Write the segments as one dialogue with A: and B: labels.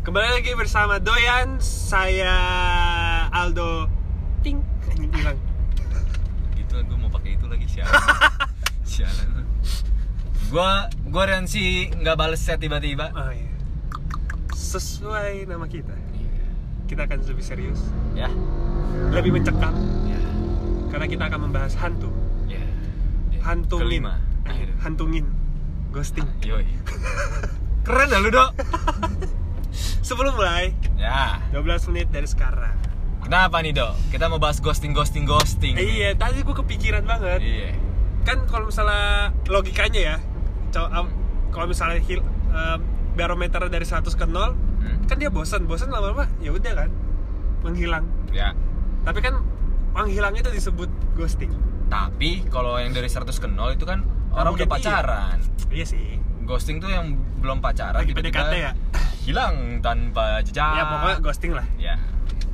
A: Kembali lagi bersama Doyan, saya Aldo Ting Anjing hilang.
B: Itu gue Gitu mau pakai itu lagi sialan. sialan. Gua gua Rensi nggak bales chat tiba-tiba.
A: Oh iya. Sesuai nama kita, kita akan lebih serius,
B: Ya.
A: lebih mencekam
B: Ya.
A: karena kita akan membahas hantu.
B: Ya.
A: Hantungin.
B: Kelima.
A: Eh,
B: Akhirnya.
A: Hantungin. Ghosting.
B: Yoi. Keren dah lu, Dok.
A: Sebelum mulai,
B: ya.
A: 12 menit dari sekarang.
B: Kenapa nih, Dok? Kita mau bahas ghosting ghosting ghosting.
A: Eh, iya, tadi gue kepikiran banget.
B: Iya.
A: kan kalau misalnya logikanya ya cow- am- kalau misalnya hil, em, barometer dari 100 ke 0
B: Hmm.
A: kan dia bosan bosan lama-lama ya udah kan menghilang
B: Ya.
A: tapi kan menghilang itu disebut ghosting
B: Tapi kalau yang dari 100 ke 0 itu kan
A: Nah,
B: orang
A: mungkin
B: udah
A: iya.
B: pacaran.
A: iya sih
B: Ghosting tuh yang belum pacaran
A: lagi
B: tiba-tiba
A: PDKT ya
B: hilang tanpa jejak.
A: ya pokoknya ghosting lah
B: Ya.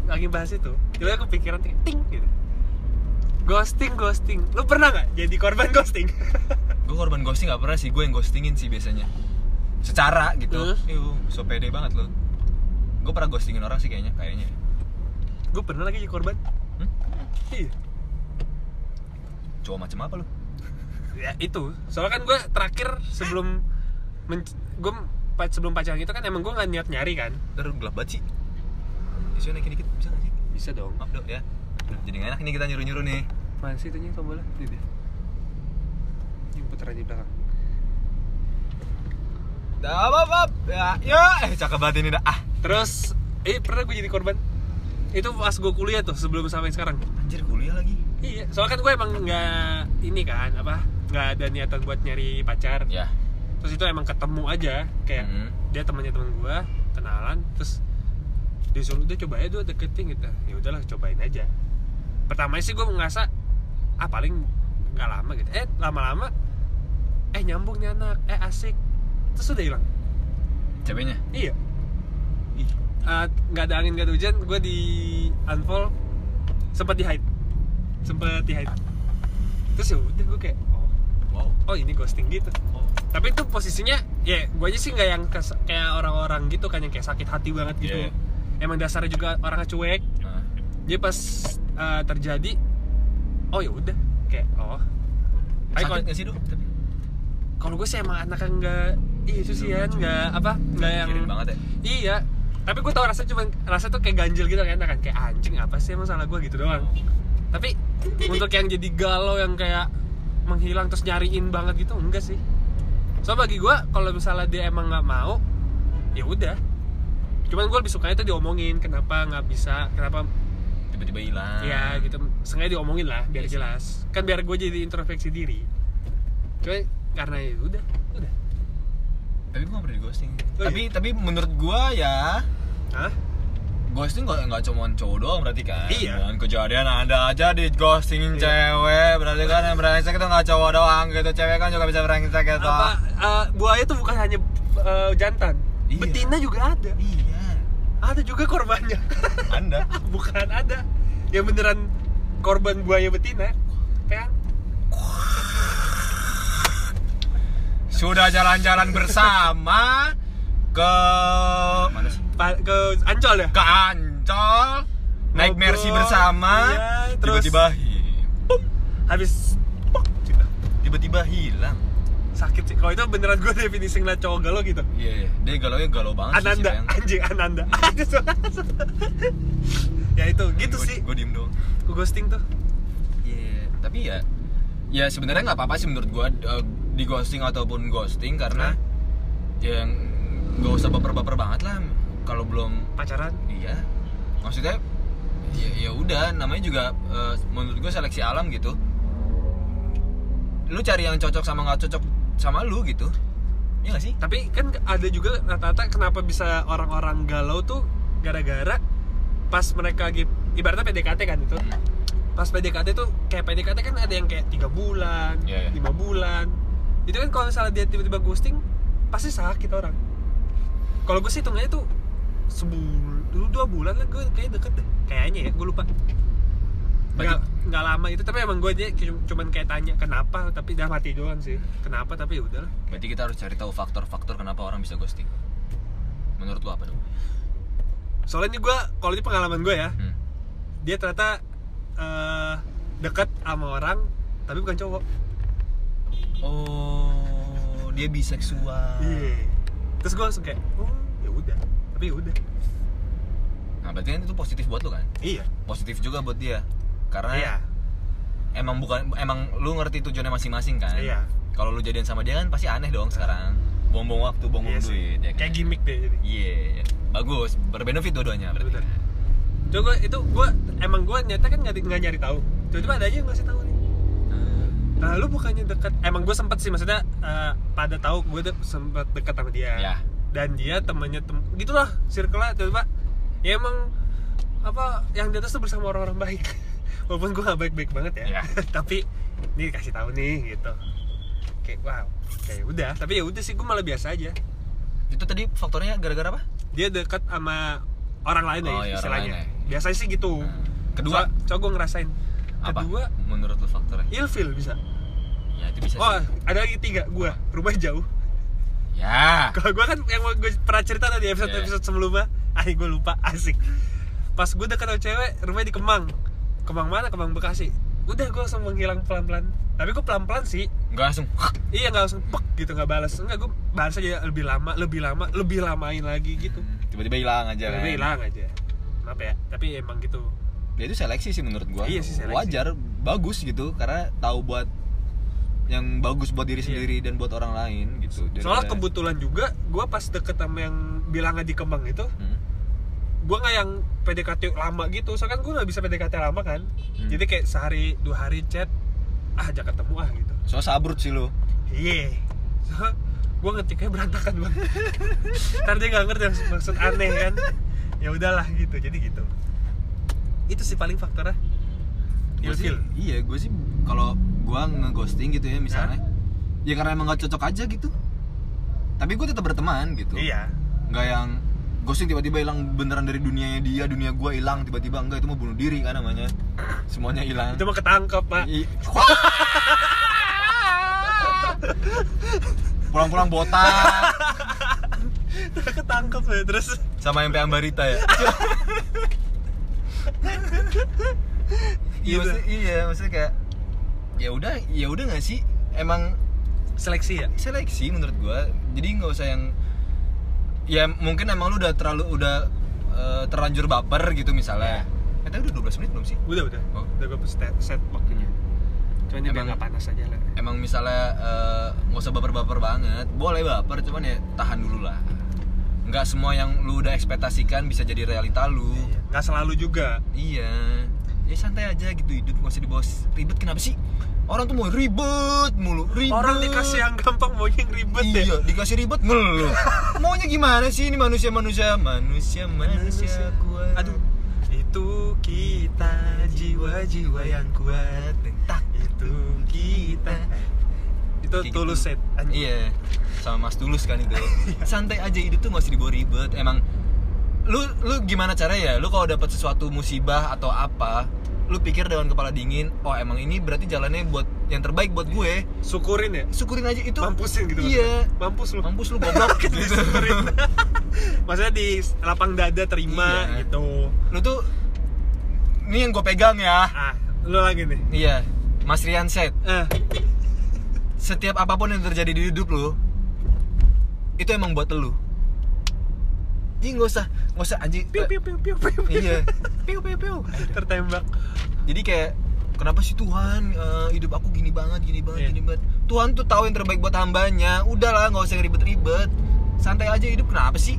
A: lagi bahas itu jadi aku pikiran ting, ting gitu ghosting ghosting lu pernah nggak jadi korban ghosting
B: gue korban ghosting gak pernah sih gue yang ghostingin sih biasanya secara gitu
A: Terus?
B: Iu, so pede banget lo gue pernah ghostingin orang sih kayaknya kayaknya
A: gue pernah lagi jadi korban
B: Hmm?
A: iya
B: cowok macam apa lo
A: ya itu soalnya kan gue terakhir sebelum gue sebelum pacaran itu kan emang gue nggak niat nyari kan
B: terus gelap banget sih isu naikin dikit bisa gak sih
A: bisa dong
B: maaf dok ya Duh, jadi gak enak nih kita nyuruh nyuruh nih
A: mana sih itunya tombolnya ini dia yang putaran di belakang
B: dah apa apa ya ya eh cakep banget ini dah ah
A: terus eh pernah gue jadi korban itu pas gue kuliah tuh sebelum sampai sekarang
B: anjir kuliah lagi
A: iya soalnya kan gue emang nggak ini kan apa nggak ada niatan buat nyari pacar
B: ya
A: terus itu emang ketemu aja kayak
B: Mhm.
A: dia temannya teman gue kenalan terus disuruh udah coba aja dulu deketin gitu ya udahlah cobain aja pertama sih gue ngerasa ah paling nggak lama gitu eh lama-lama eh nyambung nih anak eh asik terus udah hilang
B: ceweknya
A: iya
B: ih
A: Ah, nggak ada angin nggak ada hujan gue di unfollow sempet di hide sempet di hide terus ya udah gue kayak oh,
B: wow
A: oh ini ghosting gitu
B: oh
A: tapi itu posisinya ya gue aja sih nggak yang kes- kayak orang-orang gitu kan yang kayak sakit hati banget gitu
B: Iya, iya.
A: emang dasarnya juga orangnya cuek
B: nah,
A: jadi pas uh, terjadi oh ya udah kayak oh Tapi
B: sakit
A: kalau-
B: gak sih dok tapi
A: kalau gue sih emang anaknya nggak iya itu sih ya
B: Cuek.
A: nggak apa nggak yang
B: mikirin banget ya
A: iya tapi gue tau rasanya cuman rasa tuh kayak ganjil gitu kan kan kayak anjing apa sih emang salah gue gitu doang tapi untuk yang jadi galau yang kayak menghilang terus nyariin banget gitu enggak sih so bagi gue kalau misalnya dia emang nggak mau ya udah cuman gue lebih sukanya tuh diomongin kenapa nggak bisa kenapa
B: tiba-tiba hilang
A: ya gitu sengaja diomongin lah biar
B: Ah. Iya sih.
A: jelas kan biar gue jadi introspeksi diri cuman karena ya udah udah
B: tapi gue gak pernah di ghosting
A: Oh,
B: tapi tapi menurut gue ya
A: Hah?
B: ghosting nggak nggak cuma cowok doang berarti kan
A: Iya.
B: dan kejadian ada aja di ghostingin
A: Iya.
B: cewek berarti kan yang brengsek itu nggak cowok doang gitu cewek kan juga bisa brengsek gitu
A: apa eh, buaya tuh bukan hanya eh, jantan
B: Iya.
A: betina juga ada
B: iya
A: ada juga korbannya
B: anda
A: bukan ada yang beneran korban buaya betina kan
B: sudah jalan-jalan bersama ke mana sih
A: pa- ke ancol ya
B: ke Ancol naik
A: Bogor,
B: Mercy bersama
A: iya, terus-
B: tiba-tiba hi-
A: habis pok, gitu.
B: tiba-tiba hilang
A: sakit sih kalau itu beneran gue definisi ngeliat cowok galau gitu
B: iya iya. dia galau nya galau banget sih,
A: ananda
B: Bang.
A: anjing ananda Ada suara- suara. ya itu gitu
B: Gua-
A: sih
B: gua diem doang
A: gue ghosting tuh
B: Iya, tapi ya ya sebenarnya nggak apa-apa sih menurut gua eh, di ghosting ataupun ghosting karena yang nggak usah baper-baper banget lah kalau belum
A: pacaran
B: iya maksudnya ya ya udah namanya juga eh, menurut gua seleksi alam gitu lu cari yang cocok sama nggak cocok sama lu gitu Iya gak sih
A: tapi kan ada juga rata-rata kenapa bisa orang-orang galau tuh gara-gara pas mereka lagi ibaratnya PDKT kan itu pas PDKT tuh kayak PDKT kan ada yang kayak tiga bulan
B: Iya, iya.
A: lima bulan itu kan kalau misalnya dia tiba-tiba ghosting pasti sakit orang kalau gue sih hitungannya tuh sebul dulu dua bulan lah gue kayak deket deh kayaknya ya gue lupa nggak nggak lama itu tapi emang gue aja cuman kayak tanya kenapa tapi dalam hati doang sih kenapa tapi ya udahlah
B: berarti kita harus cari tahu faktor-faktor kenapa orang bisa ghosting menurut lu apa dong
A: soalnya ini gue kalau ini pengalaman gue ya
B: Hmm.
A: dia ternyata eh, deket sama orang tapi bukan cowok
B: Oh, dia biseksual.
A: Iya. terus gue langsung kayak oh ya udah tapi ya udah
B: Nah, berarti kan itu positif buat lu kan?
A: iya
B: Positif juga buat dia. Karena
A: iya
B: emang bukan emang lu ngerti tujuannya masing-masing kan?
A: Iya.
B: Kalau lu jadian sama dia kan pasti aneh dong sekarang. Bongbong waktu,
A: Iya
B: bongbong
A: sih.
B: duit ya kan?
A: kayak gimmick deh jadi
B: Iya. Bagus, berbenefit dua-duanya berarti. ya.
A: Betul. Coba itu gue emang gue nyata kan nggak nggak nyari tahu. Tiba-tiba ada aja yang ngasih tahu nih.
B: Hmm.
A: Nah lu bukannya dekat? Emang gue sempet sih maksudnya eh, pada tahu gue tuh sempet dekat sama dia.
B: Ya.
A: Dan dia temannya tem, gitulah circle-nya tiba-tiba ya emang apa yang di atas tuh bersama orang-orang baik. Walaupun gue gak baik-baik banget ya,
B: Iya.
A: tapi ini dikasih tahu nih gitu. Kayak wow, kayak udah. Tapi ya udah sih gue malah biasa aja.
B: Itu tadi faktornya gara-gara apa?
A: Dia dekat sama orang lain
B: Oh,
A: ya
B: iya, orang
A: istilahnya.
B: lain
A: Biasanya sih gitu.
B: Nah, Kedua,
A: So- Soalnya gue ngerasain
B: apa?
A: Kedua
B: Menurut lu faktornya?
A: Ilfil bisa
B: Ya, itu bisa
A: Oh
B: sih.
A: ada lagi tiga Gue rumah jauh
B: Ya.
A: Kalau gue kan yang gue pernah cerita tadi episode-episode sebelumnya Ah gue lupa asik Pas gue deket sama cewek rumahnya di Kemang Kemang mana? Kemang Bekasi Udah gue langsung menghilang pelan-pelan Tapi gue pelan-pelan sih
B: Enggak langsung.
A: Iya gak langsung pek gitu gak balas Enggak gue balas aja lebih lama Lebih lama Lebih lamain lagi gitu
B: Hmm. Tiba-tiba hilang aja.
A: Tapi
B: kan?
A: hilang aja Maaf ya Tapi emang gitu
B: ya itu seleksi sih menurut gua
A: Iya sih, seleksi.
B: wajar bagus gitu karena tahu buat yang bagus buat diri
A: Iya.
B: sendiri dan buat orang lain gitu
A: Soalnya
B: Daripada-
A: kebetulan juga Gue pas deket sama yang bilangnya di Kemang itu
B: Hmm.
A: gue nggak yang PDKT lama gitu soalnya kan gue nggak bisa PDKT lama kan jadi kayak sehari dua hari chat ah jangan ketemu ah gitu
B: soalnya sabrut sih lo
A: iya so, gue ngetiknya berantakan banget ntar dia nggak ngerti maksud, maksud aneh kan ya udahlah gitu jadi gitu itu sih paling faktornya ilfil
B: iya gue sih kalau gua ngeghosting gitu ya misalnya ya karena emang gak cocok aja gitu tapi gue tetap berteman gitu
A: iya
B: nggak yang ghosting tiba-tiba hilang beneran dari dunianya dia dunia gua hilang tiba-tiba enggak itu mau bunuh diri kan namanya semuanya hilang
A: itu mah ketangkep pak
B: I- pulang-pulang botak
A: ketangkep ya terus
B: sama MP Ambarita ya iya
A: Gitu.
B: maksudnya, iya maksudnya kayak ya udah ya udah nggak sih emang
A: seleksi ya
B: seleksi menurut gua jadi nggak usah yang ya mungkin emang lu udah terlalu udah eh, terlanjur baper gitu misalnya Eh, tapi udah 12 menit belum sih
A: udah udah
B: Oh.
A: udah gue set, set waktunya cuman dia biar
B: Emang-
A: nggak panas aja lah
B: emang misalnya eh, nggak usah baper-baper banget boleh baper cuman ya tahan dulu lah nggak semua yang lu udah ekspektasikan bisa jadi realita lu
A: Iya. nggak selalu juga
B: iya ya santai aja gitu hidup nggak usah dibawa ribet kenapa sih orang tuh mau ribet mulu ribet
A: Orang dikasih yang gampang maunya yang ribet
B: iya,
A: ya.
B: dikasih ribet ngeluh maunya gimana sih ini manusia manusia manusia manusia kuat
A: Aduh, itu kita jiwa-jiwa yang kuat.
B: tak
A: Itu kita. Itu
B: Kayak
A: tulus
B: gitu.
A: set. Anjing.
B: Iya, sama Mas Tulus kan itu. Santai aja hidup tuh nggak usah dibawa ribet. Emang lu lu gimana cara ya? Lu kalau dapat sesuatu musibah atau apa, lu pikir dengan kepala dingin, oh emang ini berarti jalannya buat yang terbaik buat gue.
A: Syukurin ya.
B: Syukurin aja itu.
A: Mampusin gitu.
B: Iya.
A: maksudnya. Mampus lu. Kan
B: Mampus lu goblok gitu.
A: Disyukurin. Maksudnya di lapang dada terima
B: Iya.
A: gitu.
B: lu tuh ini yang gue pegang ya.
A: Ah, lu lagi nih.
B: Iya. Mas Rian Set,
A: Eh,
B: setiap apapun yang terjadi di hidup lu itu emang buat lu. Ih nggak usah, nggak usah anjing.
A: piu piu piu piu piu. piu.
B: Iya. Piu piu piu.
A: Tertembak.
B: jadi kayak kenapa sih Tuhan eh, hidup aku gini banget gini banget
A: Iya.
B: gini banget Tuhan tuh tahu yang terbaik buat hambanya udahlah nggak usah ribet-ribet santai aja hidup kenapa sih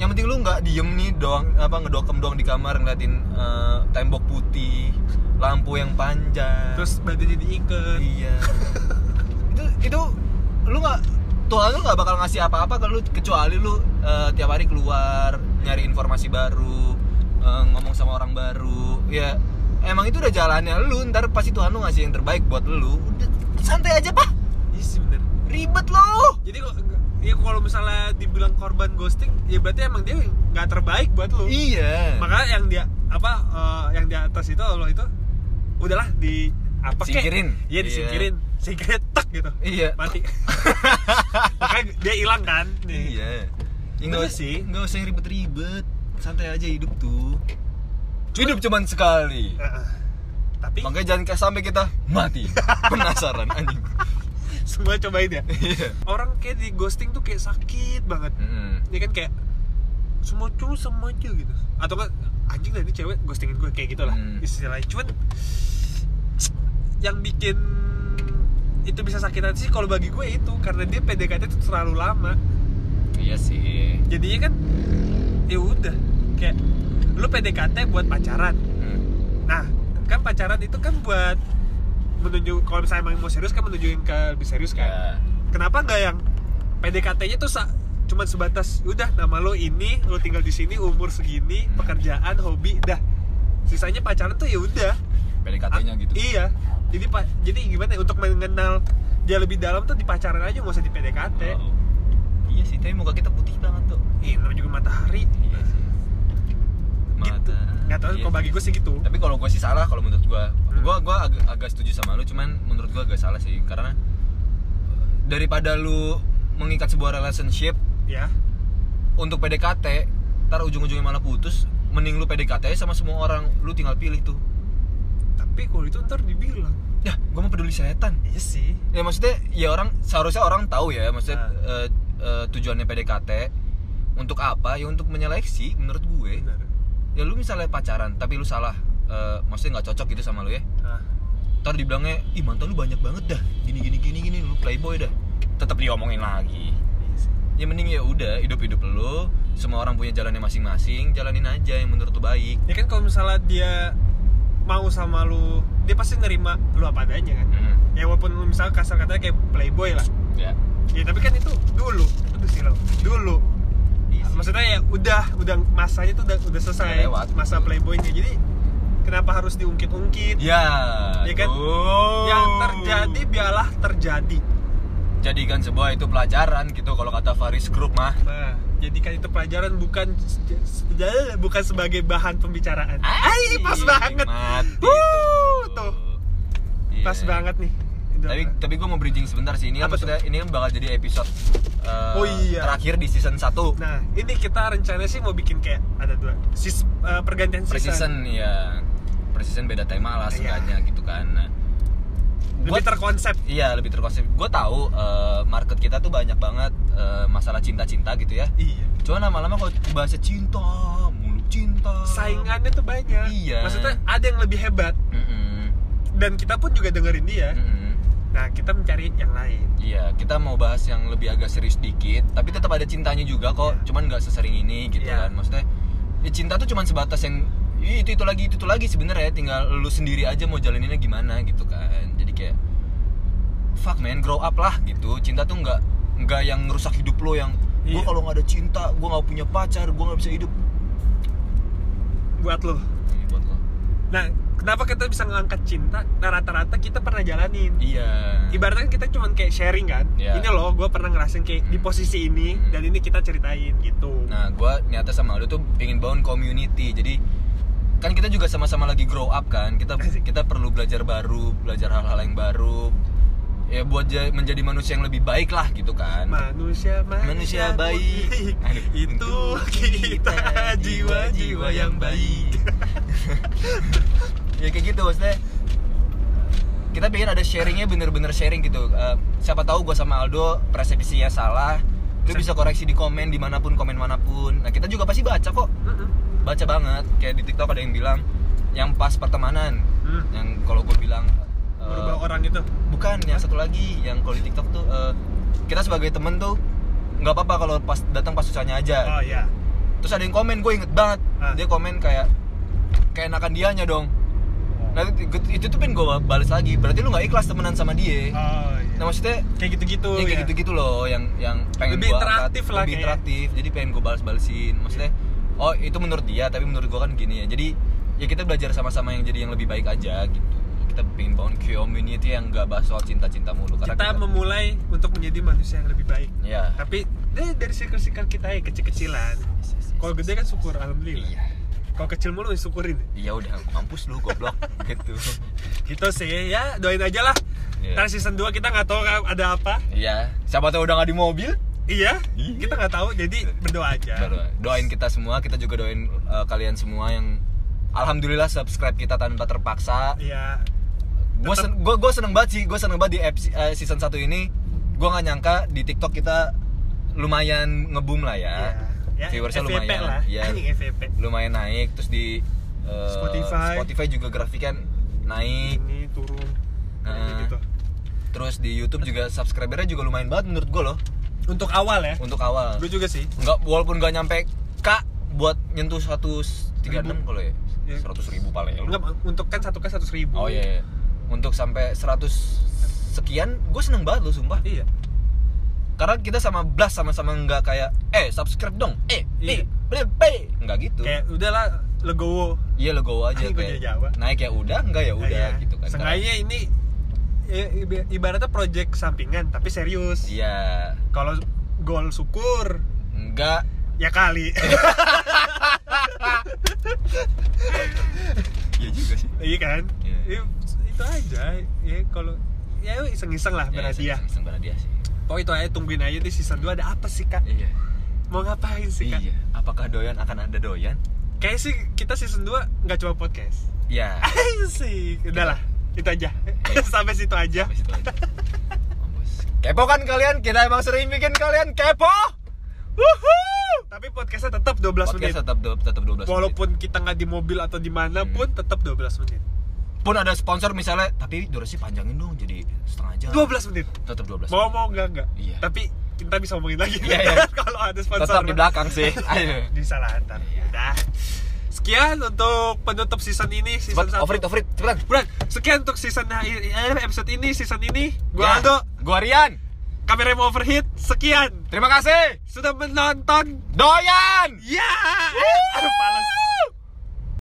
B: yang penting lu nggak diem nih doang apa ngedokem doang di kamar ngeliatin eh, tembok putih lampu yang panjang
A: Terus badannya diikat.
B: iya itu itu lu nggak Tuhan lu nggak bakal ngasih apa-apa ke lu kecuali lu eh, tiap hari keluar nyari informasi baru eh, ngomong sama orang baru ya emang itu udah jalannya lu ntar pasti Tuhan lu ngasih yang terbaik buat lu udah santai aja pak
A: Iya sih bener.
B: ribet lu
A: Jadi kok ya kalau misalnya dibilang korban ghosting, ya berarti emang dia nggak terbaik buat lu.
B: iya
A: Makanya yang dia apa eh, yang di atas itu Allah itu udahlah di apa kek.
B: Singkirin.
A: Iya disingkirin. Singkirin tak gitu.
B: iya
A: Mati. Makanya dia hilang kan. Nih.
B: iya Ya,
A: Bener
B: nggak
A: sih.
B: nggak usah yang ribet-ribet santai aja hidup tuh hidup cuman sekali
A: Heeh. tapi
B: makanya jangan kayak sampai kita mati penasaran anjing
A: semua cobain ya
B: Iya.
A: orang kayak di ghosting tuh kayak sakit banget
B: Mm-mm.
A: ini kan kayak semua cowok sama aja gitu atau kan anjing tadi cewek ghostingin gue kayak gitu lah
B: Hmm.
A: istilahnya cuman yang bikin itu bisa sakit hati sih kalau bagi gue itu karena dia PDKT itu terlalu lama
B: iya sih
A: jadinya kan ya udah kayak lu PDKT buat pacaran
B: Mm.
A: nah kan pacaran itu kan buat menuju kalau misalnya emang mau serius kan menujuin ke lebih serius kan
B: Ya.
A: kenapa nggak yang PDKT-nya tuh sa- cuman sebatas udah nama lo ini lo tinggal di sini umur segini
B: Hmm.
A: pekerjaan hobi dah sisanya pacaran tuh ya udah
B: PDKT-nya gitu
A: iya jadi pak jadi gimana ya, untuk mengenal dia lebih dalam tuh di pacaran aja nggak usah di PDKT
B: Oh. iya sih tapi muka kita putih banget tuh
A: Ih, namanya juga matahari
B: iya sih
A: gitu nggak tahu
B: Iya
A: kalau bagi gue sih gitu
B: tapi kalau gue sih salah kalau menurut gue
A: Hmm.
B: gue gue agak, agak setuju sama lu cuman menurut gue agak salah sih karena eh, daripada lu mengikat sebuah relationship
A: ya
B: untuk PDKT ntar ujung-ujungnya malah putus mending lu PDKT sama semua orang lu tinggal pilih tuh
A: tapi kalau itu ntar dibilang
B: ya gue mau peduli setan
A: iya sih
B: ya maksudnya ya orang seharusnya orang tahu ya maksudnya
A: Ah.
B: eh, eh, tujuannya PDKT untuk apa ya untuk menyeleksi menurut gue
A: benar
B: ya lu misalnya pacaran tapi lu salah eh, maksudnya nggak cocok gitu sama lu ya
A: ah,
B: ntar dibilangnya ih mantan lu banyak banget dah gini gini gini gini lu playboy dah tetap diomongin lagi
A: iya sih
B: ya mending ya udah hidup hidup lu semua orang punya jalannya masing-masing jalanin aja yang menurut lu baik
A: ya kan kalau misalnya dia mau sama lu dia pasti nerima lu apa adanya kan
B: Mm,
A: ya walaupun lu misalnya kasar katanya kayak playboy lah
B: ya
A: ya tapi kan itu dulu aduh silau dulu
B: iya sih.
A: maksudnya ya udah udah masanya tuh udah, udah selesai
B: Udah lewat.
A: masa playboynya jadi kenapa harus diungkit-ungkit
B: ya
A: Ya kan?
B: tuh.
A: yang terjadi biarlah terjadi
B: jadikan sebuah itu pelajaran gitu kalau kata Faris Group mah
A: nah jadikan itu pelajaran bukan bukan sebagai bahan pembicaraan Iya. Ay, Ah, pas
B: Ih,
A: banget
B: mati
A: Wuh, tuh
B: Iya.
A: pas banget nih Udah.
B: tapi tapi gue mau bridging sebentar sih ini kan
A: Apa tuh?
B: maksudnya ini kan bakal jadi episode eh,
A: Oh, iya.
B: terakhir di season 1
A: nah ini kita rencananya sih mau bikin kayak ada dua sis, eh, pergantian
B: per
A: season,
B: season ya per season beda tema lah
A: Iya.
B: seenggaknya gitu kan nah,
A: lebih
B: gua-
A: terkonsep
B: iya lebih terkonsep gue tahu eh, market kita tuh banyak banget eh, masalah cinta-cinta gitu ya
A: iya
B: cuman lama-lama kalau bahasa cinta mulu cinta
A: saingannya tuh banyak.
B: Iya.
A: Maksudnya ada yang lebih hebat
B: Mm-mm,
A: dan kita pun juga dengerin dia.
B: mm-mm.
A: Nah, kita mencari yang lain.
B: Mm-hmm. Iya, kita mau bahas yang lebih agak serius dikit, tapi tetap ada cintanya juga kok,
A: Iya.
B: cuman nggak sesering ini gitu
A: Iya.
B: kan. Maksudnya ya cinta tuh cuman sebatas yang "Ih, itu itu lagi itu itu lagi sebenarnya ya, tinggal lu sendiri aja mau jalaninnya gimana gitu kan. Jadi kayak fuck man, grow up lah gitu. Cinta tuh nggak nggak yang ngerusak hidup lo yang gue
A: Iya.
B: kalau nggak ada cinta, gue nggak punya pacar, gue nggak bisa hidup.
A: Buat lo.
B: Ini buat lo.
A: Nah, kenapa kita bisa ngangkat cinta? Nah, rata-rata kita pernah jalanin.
B: Iya.
A: Ibaratnya kan kita cuman kayak sharing kan.
B: Iya.
A: Ini loh, gue pernah ngerasain kayak di posisi ini
B: Hmm.
A: dan ini kita ceritain gitu.
B: Nah, gue niatnya sama lu tuh pengen bangun community. Jadi kan kita juga sama-sama lagi grow up kan. Kita
A: Asik.
B: kita perlu belajar baru, belajar hal-hal yang baru. Ya buat ja- menjadi manusia yang lebih baik lah gitu kan.
A: Nah, Manusia,
B: Manusia baik. Aduh,
A: itu kita jiwa-jiwa yang baik.
B: ya kayak gitu maksudnya kita pengen ada sharingnya bener-bener sharing gitu Eh, siapa tahu gue sama Aldo persepsinya salah lu bisa koreksi di komen dimanapun komen manapun nah kita juga pasti baca kok
A: Mm-mm.
B: baca banget kayak di TikTok ada yang bilang yang pas pertemanan
A: Hmm.
B: yang kalau gue bilang eh,
A: Merubah orang itu.
B: bukan yang satu lagi yang kalau di TikTok tuh eh, kita sebagai temen tuh nggak apa-apa kalau pas datang pas susahnya aja
A: Oh ya.
B: terus ada yang komen gue inget banget
A: Ah.
B: dia komen kayak keenakan dianya dong nah itu, itu tuh pengen gue balas lagi berarti lu nggak ikhlas temenan sama dia
A: Oh iya.
B: nah maksudnya
A: kayak gitu-gitu
B: ya kayak gitu-gitu loh yang yang
A: Oh, iya.
B: pengen
A: Lebih
B: gua
A: interaktif
B: angkat,
A: lah
B: lebih
A: kayaknya.
B: interaktif jadi pengen gue balas-balesin maksudnya oh itu menurut dia tapi menurut gue kan gini ya jadi ya kita belajar sama-sama yang jadi yang lebih baik aja gitu kita pengen bangun community yang nggak bahas soal cinta-cinta mulu karena
A: kita memulai untuk menjadi manusia yang lebih baik
B: ya
A: tapi dari, dari circle-circle kita ya kecil-kecilan kalau gede kan syukur alhamdulillah
B: iya
A: kalau kecil mulu ya syukurin
B: iya udah mampus lu goblok gitu
A: gitu sih ya doain aja lah
B: Iya.
A: ntar season 2 kita nggak tahu ada apa
B: iya siapa tahu udah nggak di mobil
A: Iya,
C: Iya.
A: kita nggak tahu. Jadi berdoa aja.
B: Berdoa. Doain kita semua, kita juga doain eh, kalian semua yang alhamdulillah subscribe kita tanpa terpaksa.
A: Iya.
B: Gue sen gua, gua seneng banget sih, gue seneng banget di ep- eh, season 1 ini. Gue nggak nyangka di TikTok kita lumayan ngeboom lah ya.
A: Ya,
B: Viewersnya
A: FVP
B: lumayan.
A: lah.
B: Iya.
A: Anjing FVP.
B: lumayan naik terus di eh,
A: Spotify. Hmm.
B: Spotify juga grafiknya naik
A: Ini turun. Nah,
B: Nah.
A: gitu.
B: terus di YouTube juga subscribernya juga lumayan banget menurut gue loh
A: Untuk awal ya.
B: untuk awal
A: Lu juga sih.
B: nggak walaupun nggak nyampe k buat nyentuh 136 kalau ya
A: Ya.
B: 100 ribu paling ya lu.
A: Enggak, untuk kan satu kan seratus ribu.
B: oh iya iya. untuk sampai 100 sekian gue seneng banget loh sumpah
A: Iya.
B: karena kita sama Blas sama-sama nggak kayak eh subscribe dong eh
A: Iya.
B: eh beli beli nggak gitu
A: Kayak udahlah legowo.
B: iya legowo aja
A: Anjing, gua jadi Jawa. Iya,
B: kayak naik ya udah nggak ya udah
A: Kayak,
B: gitu kan
A: Seenggaknya ini ya, iba- ibaratnya project sampingan tapi serius.
B: iya
A: Kalau gol syukur
B: Enggak.
A: ya kali.
B: Iya juga sih.
A: iya kan?
B: Iya.
A: Ya, itu aja. Ya kalau ya iseng-iseng
B: Iya,
A: lah berarti ya.
B: Iseng berhadiah sih.
A: Pokoknya itu aja tungguin aja di season 2 ada apa sih kak?
B: Iya.
A: Mau ngapain sih kak?
B: Iya. Apakah doyan akan ada doyan?
A: Kayaknya sih kita season 2 nggak cuma podcast
B: Ya.
A: Asik
B: Iya.
A: Udah lah, itu aja Sampai situ aja
B: Sampai situ aja. Ya. Mampus. Kepo kan kalian? Kita emang sering bikin kalian kepo. Wuhuu.
A: Tapi podcastnya tetap 12 menit
B: Podcast tetap du- tetap 12 menit. Iya.
A: Walaupun kita nggak di mobil atau di mana pun tetap 12 menit
B: pun ada sponsor misalnya, tapi durasi panjangin dong jadi setengah jam.
A: 12 menit
B: Tetap 12.
A: Mau mau nggak nggak
B: Iya.
A: Tapi kita bisa ngomongin lagi
B: Iya, iya.
A: Kalau ada sponsor
B: Tetap di belakang sih. Iya. Ayo.
A: Di salah antar Udah Sekian untuk penutup season ini Season 1
B: Cepet, over it, over it, cepetan.
A: Bro, sekian untuk season eh, episode ini, season ini.
B: Ya.
A: Gua Aldo,
B: Gua Rian.
A: kamera mau overheat. Sekian.
B: Terima kasih.
A: Sudah menonton. Ya.
B: Doyan.
A: Yeay!